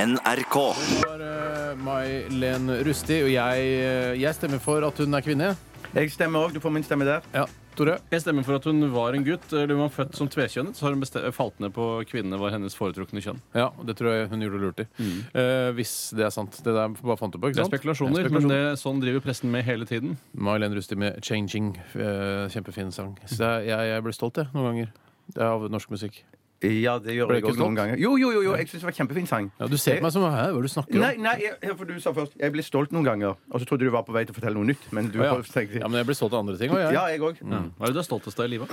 NRK. var eh, May-Len Rusti, og jeg, eh, jeg stemmer for at hun er kvinne. Jeg stemmer òg. Du får min stemme der. Ja, Tore? Jeg stemmer for at hun var en gutt. Eller hun var født som tvekjønnet, så har hun beste- falt ned på kvinnene var hennes foretrukne kjønn. Ja, Det tror jeg hun gjorde lurt i. Eh, hvis det er sant. Det der bare fant du på, Det ikke er sant? spekulasjoner, men Sånn. det, sånn driver pressen med hele tiden. May-Len Rusti med 'Changing'. eh, kjempefin sang. Så jeg, jeg, jeg blir stolt, jeg, noen ganger. Det er av norsk musikk. Ja, det gjør Ble jeg ikke også noen stolt? ganger. Jo, jo, jo, jo. jeg syns det var kjempefin sang. Ja, Du ser på meg som Hæ, hva er det du snakker om? Nei, nei, jeg, for du sa først Jeg ble stolt noen ganger. Og så trodde du var på vei til å fortelle noe nytt. Men du Å, ja. tenkte ja, men jeg blir stolt av andre ting òg, jeg. Ja, jeg òg. Hva er det du er stoltest av i livet?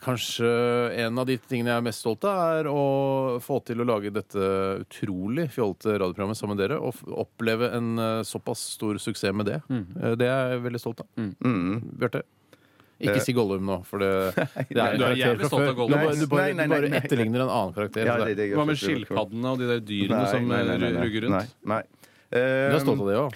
Kanskje en av de tingene jeg er mest stolt av, er å få til å lage dette utrolig fjollete radioprogrammet sammen med dere, og f- oppleve en eh, såpass stor suksess med det. Eh, Det er jeg veldig stolt av. Mm, Bjarte? Ikke si Gollum nå, for det, det er en Du karakter er jævlig fra stolt av før. Gollum. Du bare, du bare, Nei, nei, du nei, bare nei. etterligner en annen karakter. Ja, så det, det er- det, jeg Hva med også tror jeg var kult. skilpaddene og de der dyrene Nei, som nei, nei, nei, nei. ruger rundt? Nei. nei. eh, Du er stolt av det òg.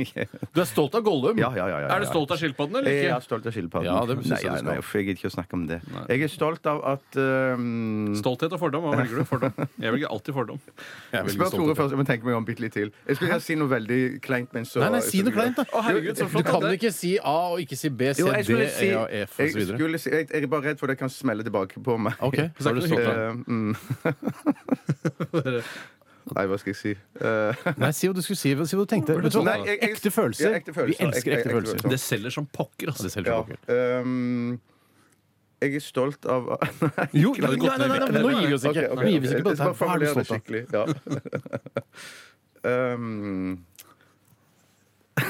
Du er stolt av Gollum! ja, ja, ja, ja, ja. Er du stolt av skilpaddene eller Jeg er ikke? stolt av skilpadden. Ja, det synes nei, jeg du ja, skal. nei, uff, jeg gidder ikke å snakke om det. Nei. Jeg er stolt av at um, Stolthet og fordom. Hva velger du? Fordom. Jeg velger alltid fordom. Jeg er veldig Spør stolt av Tore det. først. Jeg må tenke meg om bitte litt til. Jeg skulle gjerne si noe veldig kleint, men så Nei, nei, si noe kleint, da! Å, herregud, så Du flott. kan ikke si A og ikke si B, C, Jo, jeg D, skulle si, E og F jeg, osv. skulle si jeg, jeg er bare redd for det kan smelle tilbake på meg. OK, Så så er er du det stolt av Eh, mm. Nei, hva skal jeg si? Eh, Nei, si hva du skulle si. Si hva du tenkte. Vet du hva? Nei, jeg- jeg- ekte følelser. Ja, ekte følelser. Vi elsker ekte, Ekte- ekte følelser. følelser. Det selger som Det pokker, altså. er selv ja. sjokker. um, jeg er stolt av Jo, Nei, nei, nei, nei, nei, nei, nå gir vi oss ikke. Ok, ok, Nå gir vi oss ok. ikke på Jeg skal dette. bare her. Hva er du formulere det stolt av? skikkelig. Ja. um,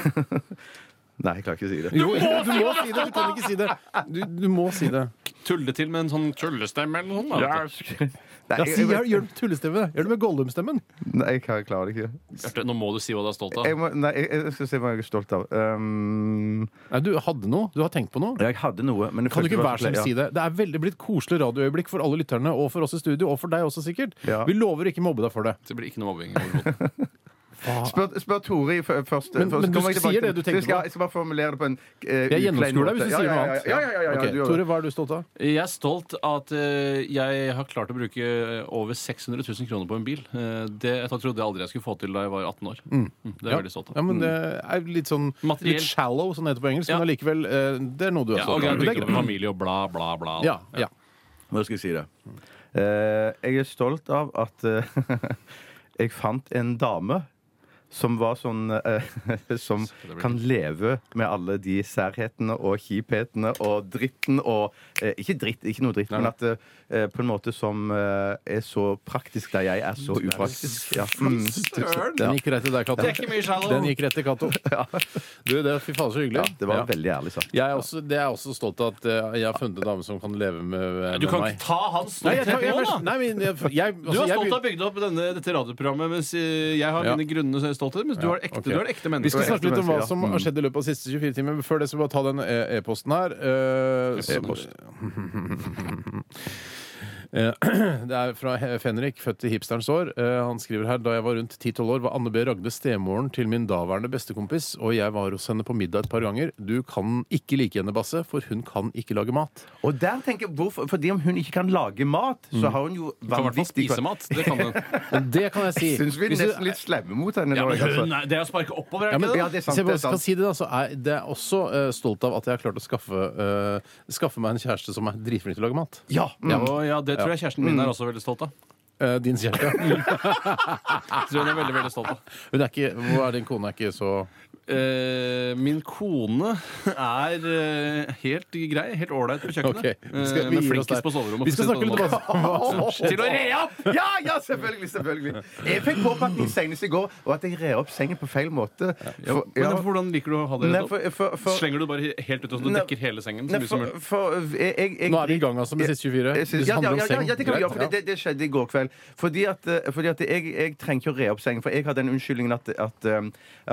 Nei, jeg klarer ikke å si det. Jo, du må si det! Du kan ikke si det. Du, du må si det. Tulle til med en sånn tullestemme eller noe sånt. da, vet Nei, Ja, jeg, si, gjør, jeg, gjør det med tullestemme. Gjør det med Gollum-stemmen. nei, jeg klarer- jeg klarer det ikke. du. Bjarte, Nå må du si hva du er stolt av. Jeg, må, nei, jeg, jeg skal se hva jeg er stolt av. Um, Nei, du hadde noe. Du har tenkt på noe. jeg hadde noe, men det Kan du ikke føltes hver som vanskelig, si det? Det er veldig blitt koselig radioøyeblikk for alle lytterne, og for oss i studio, og for deg også sikkert. Ja. Vi lover å ikke mobbe deg for det. Det blir ikke noe mobbing. overhodet. ja. Spør, spør Tore i fø- først. Ah. Men- først men du kommer jeg sier tilbake det du til- tenker jeg skal, på. Jeg skal bare formulere det på en uh, Jeg gjennomskuer deg hvis du ja, sier noe ja, ja, annet. Ja, ja, ja, ja, ja, Ok, du gjør det. Tore, hva er du stolt av? Jeg er stolt at eh, jeg har klart å bruke eh, over 600 000 kroner på en bil. Eh, Det jeg trodde jeg aldri jeg skulle få til da jeg var 18 år. Mm, Det er jeg Ja. veldig stolt av. Ja, men det Mm. er litt sånn Materiell. litt shallow, som det heter på engelsk, Ja. men allikevel eh, Det er noe du er Ja, og stolt jeg av. Det er bygde opp greit. familie og bla, bla, bla. Ja, ja. Nå skal jeg si det. Eh, jeg er stolt av at eh, jeg fant en dame som var sånn eh, Som blir kan leve med alle de særhetene og kjiphetene og dritten og eh, Ikke dritt, ikke noe dritt, men at eh, på en måte som eh, er så praktisk der jeg er så upraktisk. Ja. Mm. Søren! Den gikk rett til deg, Cato. Det er ikke mye shallow. Den gikk rett til Cato. Du, det er fy faen så hyggelig. Ja, det var Ja. veldig ærlig sagt. Jeg er også, det er jeg også stolt av at eh, jeg har funnet en dame som kan leve med, eh, med Du kan meg. ikke ta hans Nei, jeg, stolthet tar- jeg, nå, da! nei, men jeg, jeg, Du altså, har jeg stolt av å begyn- bygge opp denne, dette radioprogrammet, mens eh, jeg har Ja. mine grunne stolthet. Mens du Ja, har ekte, ok. du er det ekte vi skal menneske. snakke litt om hva Ja. som har skjedd i løpet av de siste 24 timer. Men før det skal vi bare ta den eh, e-posten her. eh, som- E-post. Eh, Det er fra He- Fenrik, født i hipsterens år. Eh, Han skriver her da jeg var rundt 10-12 år, var Anne B. Ragde stemoren til min daværende bestekompis, og jeg var hos henne på middag et par ganger. Du kan ikke like henne, Basse, for hun kan ikke lage mat. Og der tenker jeg, hvorfor, Fordi om hun ikke kan lage mat, så har hun jo Mm. Kan i hvert fall vanvittig spise mat. Det kan den. Men det kan jeg si. Jeg syns vi er Hvis du- nesten litt slemme mot henne. Ja, nå, men jeg, altså. hun er, det er å sparke oppover, Ja, er men, ikke det? Ja, det er hvis sant, jeg det bare er sant. skal si det, da, så er det er også eh, stolt av at jeg har klart å skaffe, eh, skaffe meg en kjæreste som er dritflink til å lage mat. Ja, mm. Ja, og ja, det tror jeg kjæresten Mm. min er også veldig stolt av. Eh, din kjæreste. Jeg tror hun er veldig, veldig stolt av. Hun er ikke, hvor er din kone? Er ikke så Eh, min kone er eh, helt grei, helt åleit på kjøkkenet. Ok, vi skal- vi Eh, gir men oss flinkest der. på soverommet. Vi skal for snakke å si det litt sånn. om hva som skjer. Til å re opp! Ja, ja, selvfølgelig, selvfølgelig. Jeg fikk påpakning senest i går, og at jeg red opp sengen på feil måte. For, Men ja. Hvordan liker du å ha det Nei, rett opp? for, for, for, Slenger du det bare helt ut, og så du Nei, dekker hele sengen? Så nei, mye som for, mulig? for jeg, jeg, jeg, Nå er vi i gang altså med siste 24. Jeg synes- Det ja, ja, handler om ja, seng. ja, det kan vi gjøre, Greit, for det, det, det skjedde i går kveld. Fordi at, eh, fordi at jeg, jeg trenger ikke å re opp sengen, for jeg har den unnskyldningen at, at, eh,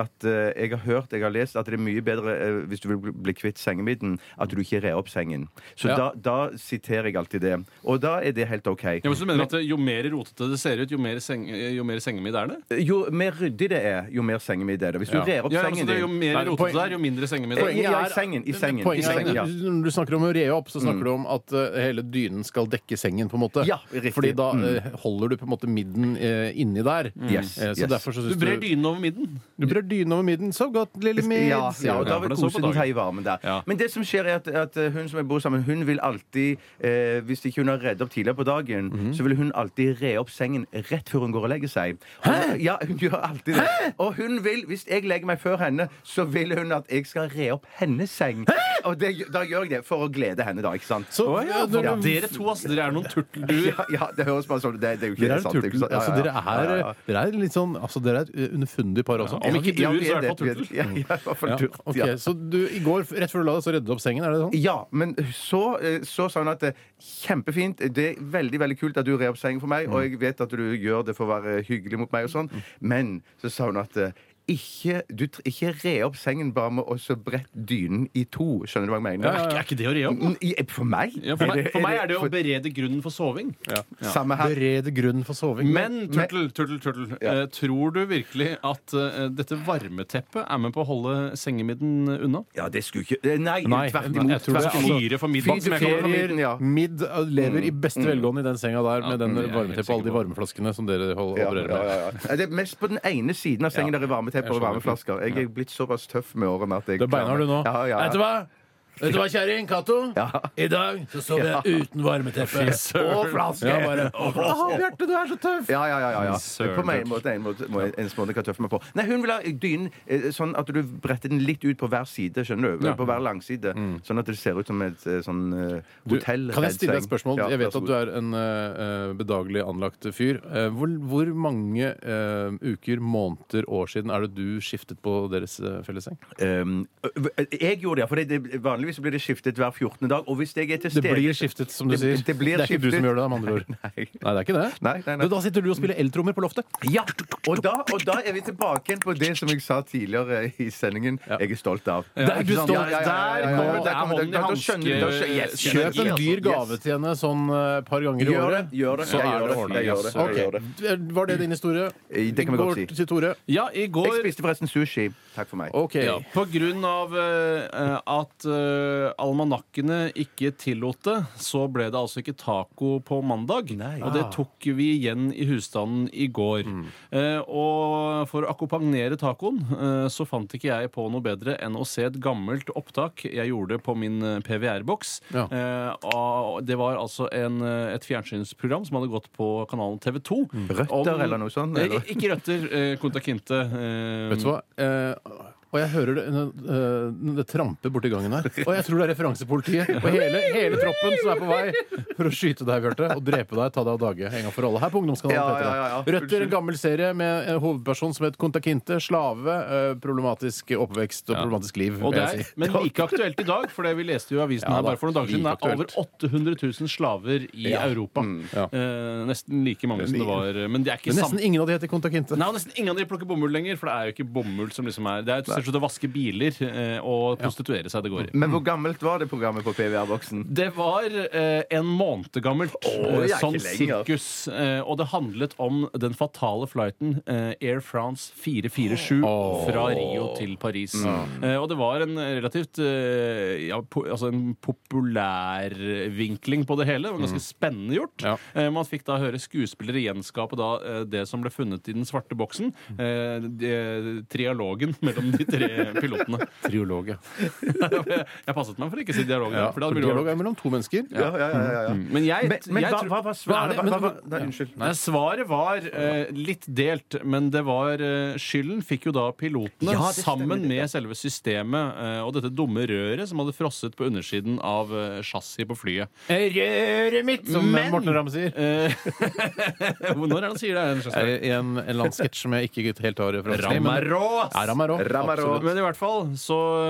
at eh, jeg har hørt, jeg har lest, at det er mye bedre eh, hvis du vil bli- bli kvitt sengemidden, at du ikke rer opp sengen. Så Ja. da, da siterer jeg alltid det. Og da er det helt OK. Ja, men så du mener at Jo mer rotete det ser ut, jo mer, seng, jo mer sengemidd er det? eh, Jo mer ryddig det er, jo mer sengemidd er det. Hvis du Ja. rer opp Ja, altså, sengen det er jo din mer Nei, rotete poen- det er, jo mindre sengemidd er det. Ja, ja, i er- sengen. I sengen. I Poenget sengen er, ja. Mm. Når du snakker om å re opp, så snakker du om at eh, hele dynen skal dekke sengen. på en måte Ja, riktig. Mm. Fordi da eh, holder du på en måte midden eh, inni der. Yes, Eh, så yes. derfor så Du syns brer du dynen over midden. Du brer dynen over midden. Så godt, lille mids. Ja, ja, og da for vil det så på kose den dagen. ta i varmen der. Ja. Men det som skjer, er at, at hun som jeg bor sammen med, hun vil alltid, eh, hvis ikke hun har redd opp tidligere på dagen, så vil hun alltid re opp sengen rett før hun går og legger seg. Hæ? Ja, hun gjør alltid det. Og hun vil, hvis jeg legger meg før henne, så vil hun at jeg skal re opp hennes seng. Og det, da gjør jeg det for å glede henne, da, ikke sant? Så, Å ja, når du- Dere to, ass. Dere er noen turtelduer. ja, ja, det høres bare sånn ut. Det, det er jo ikke Dere er, sant. det er jo ikke turtel, sant. Ja, altså, ja, dere, ja. er, Ja, ja, ja. dere er litt sånn altså, Dere er et underfundig par også. Om ikke Ja, duer, vi så er er det i hvert fall det. turtel. Ja, ja, i hvert fall Ja, turtel. ok, Ja. Så du, i går, rett før du la deg, så reddet du opp sengen? Er det sånn? Ja, men så, eh, så sa hun at det er kjempefint. Det er veldig veldig kult at du rer opp sengen for meg, og Mm. jeg vet at du gjør det for å være eh, hyggelig mot meg og sånn, men så sa hun at eh, ikke, du, tr- ikke re opp sengen bare med å så brette dynen i to. Skjønner du hva jeg mener? Er ikke- er ikke det å re opp? Mm, i- For meg? Ja, for, meg, for meg er det å berede grunnen for soving. for- Samme her. Berede grunnen for soving. Men turtle, turtle, turtle. eh, tror du virkelig at eh, dette varmeteppet er med på å holde sengemidden unna? Ja, det skulle ikke eh, Nei, Nei, tvert jeg- imot. jeg tror det er- tvert imot. altså, Fire for middag. som jeg kaller det. midten, ja. Mm. Bakterier, midd lever i beste velgående i den senga der med den det er jeg helt varmeteppet og alle de sikker på. varmeflaskene som dere hold- Ja, opererer ja, med. ja, ja. Det er mest på den ene siden av sengen der er varmetepper og varmeflasker. Jeg er blitt såpass tøff med året med at jeg Det beinhard du nå. Ja, ja, Vet du ja. hva? Vet du hva, kjerring? Cato? I dag så sover jeg uten varmeteppe. Og flaske! Ja, bare, og flaske. Bjarte, du er så tøff! Ja, ja, ja. ja, ja. Søren. På meg en måte, en måte, må jeg- en måte jeg kan tøffe meg på. Nei, hun vil ha dynen eh, sånn at du bretter den litt ut på hver side, skjønner du? På hver langside. Sånn at det ser ut som et eh, sånn eh, Mm. Du, hotell. Kan jeg stille deg et spørsmål? Ja, jeg vær vet så at du god. er en eh, bedagelig anlagt fyr. Eh, hvor, hvor mange eh, uker, måneder, år siden er det du skiftet på deres uh, fellesseng? Um, ø- ø- jeg gjorde det, for det, det, vanligvis blir det skiftet hver 14. dag. Og hvis jeg er til Det stede blir skiftet, som du Det- sier. det blir er ikke du som skiftet. gjør det, med andre ord. Nei. Nei, det er ikke det. Nei, nei, nei. Men Da sitter du og spiller eltrommer på loftet. Ja, og da, og da er vi tilbake igjen på det som jeg sa tidligere i sendingen. Jeg er stolt av. Der, du ikke sant? står Ja, ja, ja, ja, ja, ja. der nå. nå Der kommer er det- da- da skjønner du- da skjønner- yes, hånden i Kjøp en hanske. dyr gave Yes. til henne sånn eh, et par ganger i Gjør det. året. Gjør det. Så Jeg er det gjør det. ordna. Jeg gjør det. Jeg gjør det. Ok. Var det din historie? Eh, det kan vi godt si. Går til Tore. Ja, i Jeg går spiste forresten sushi. Takk for meg. OK. Ja, på grunn av eh, at eh, almanakkene ikke tillot det, så ble det altså ikke taco på mandag. Og Ah. det tok vi igjen i husstanden i går. Eh, og for å akkompagnere tacoen eh, så fant ikke jeg på noe bedre enn å se et gammelt opptak jeg gjorde på min eh, PVR-boks. Ja. Eh, og det var altså en, eh, et fjernsynsprogram som hadde gått på kanalen TV 2. Røtter eller noe sånt, Eh, eller? Ikke røtter. Eh, Konta Kinte. eh, Vet du hva? Eh, og jeg hører det, eh, det tramper borti gangen her. Og jeg tror det er referansepolitiet og hele, hele troppen som er på vei for å skyte deg, Bjarte. Og drepe deg, ta deg av dage en gang for alle. Her på Ungdomskanalen. Ja, P3. ja, ja, ja. Røtter, en gammel serie med en hovedperson som het Kontakinte. Slave. Eh, problematisk oppvekst og problematisk liv, Og vil det jeg er, si. men like aktuelt i dag, for det vi leste jo i avisen Ja, her da, bare for noen dager siden. Det like er over 800 000 slaver i Europa. ja. Eh, nesten like mange som det var eh, Men det er ikke Men sant. nesten ingen av de heter Kontakinte. Nei, og nesten ingen av de plukker bomull lenger, for det er jo ikke bomull som liksom er Det er stort sett å vaske biler eh, og prostituere seg det Mm. går i. Men hvor gammelt var det programmet på PVR-boksen? Det var eh, en måned gammelt. Å, det er eh, sånn ikke altså. lenger. sirkus. Eh, og det handlet om den fatale flighten eh, Air France 447 fra Rio til Paris. Mm. Eh, og det var en relativt eh, ja, po altså en populærvinkling på det hele. Det var ganske spennende gjort. Mm. Ja. Eh, man fikk da høre skuespillere gjenskape da eh, det som ble funnet i den svarte boksen. Eh, de, trialogen mellom de tre pilotene. Triolog, ja. Jeg passet meg for å ikke si dialogen. der, for da For hadde det blitt dialog er mellom to mennesker. Ja, ja, ja, ja, ja. men Mm. jeg, Men, men jeg hva, tror- hva var Hva er svaret? det? Hva, Men hva, hva, det- nei, unnskyld. Nei, svaret var eh, litt delt, men det var eh, skylden fikk jo da pilotene Ja, det stemmer, sammen det, med selve systemet eh, og dette dumme røret som hadde frosset på undersiden av eh, chassis på flyet. Røret mitt, som Men- Morten Ramm sier. Eh, Når er det han sier det? Er det en slags- Eh, I en, en eller annen sketsj som jeg ikke helt har referanse til. Ramm er men- rå! ass! Ja, Ramm er rå. Ramm er rå. absolutt. Men i hvert fall, så eh,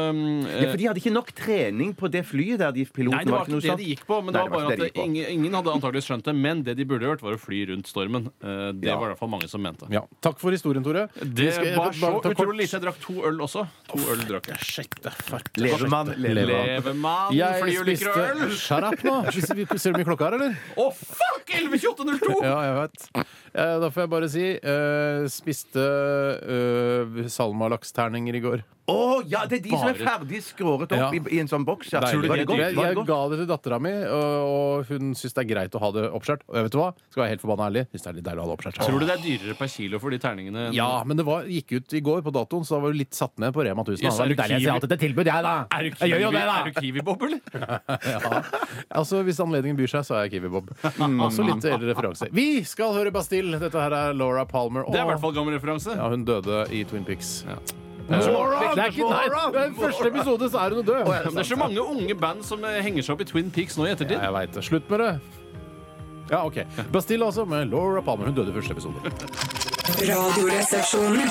Ja, for de hadde ikke nok trening på det flyet der de pilotene Nei, det var ikke det sant? de gikk på. Men det Nei, var bare ikke det de at gikk på. ingen, ingen hadde antakeligvis skjønt det. Men det de burde gjort, var å fly rundt stormen. Eh, Det Ja. var i hvert fall mange som mente. Ja. Takk for historien, Tore. Vi Det skal- var så bare ta kort- utrolig lite. Jeg drakk to øl også. To øl drakk jeg. Levemann. Levemann. Levemann, Jeg flyulykker og øl! spiste Shut up nå! Ser du hvor mye klokka er, eller? Å, fuck! 11.28,02! Ja, jeg vet. Eh, Da får jeg bare si eh, spiste eh, salmalaksterninger i går. Å ja, det er de som er Bare- ferdig skåret opp Ja. i, i en sånn boks. Ja. Tror du Var det det er godt? Jeg, Var det jeg godt? ga det til dattera mi, og, og hun syns det er greit å ha det oppskjært. Og jeg vet du hva? Skal være helt forbanna ærlig, syns det er litt deilig å ha det oppskjært. Tror du det er dyrere per kilo for de terningene? enn- Ja, men det var, gikk ut i går på datoen, så da var vi litt satt ned på Rema 1000. Yes, da. er du det er deilig å si kiwi? ja til et tilbud, jeg, da. Er du Jeg gjør jo kiwi- det, da. er du kiwi-bob, eller? Ja. Altså, Hvis anledningen byr seg, så er jeg Kiwi Bob. Mm. Også litt eldre referanse. Vi skal høre Bastille! Dette her er Laura Palmer. Det er i hvert fall gammel referanse. Ja, hun døde i Twin Pics. Ja. Eh, Laura! det er ikke, nei, det er første episode, så er hun jo død. Men Det er så mange unge band som eh, henger seg opp i Twin Peaks nå i ettertid. Ja, jeg veit det. Slutt med det. Ja, OK. Bastille altså, med Laura Palmer. Hun døde i første episode. Radioresepsjonen.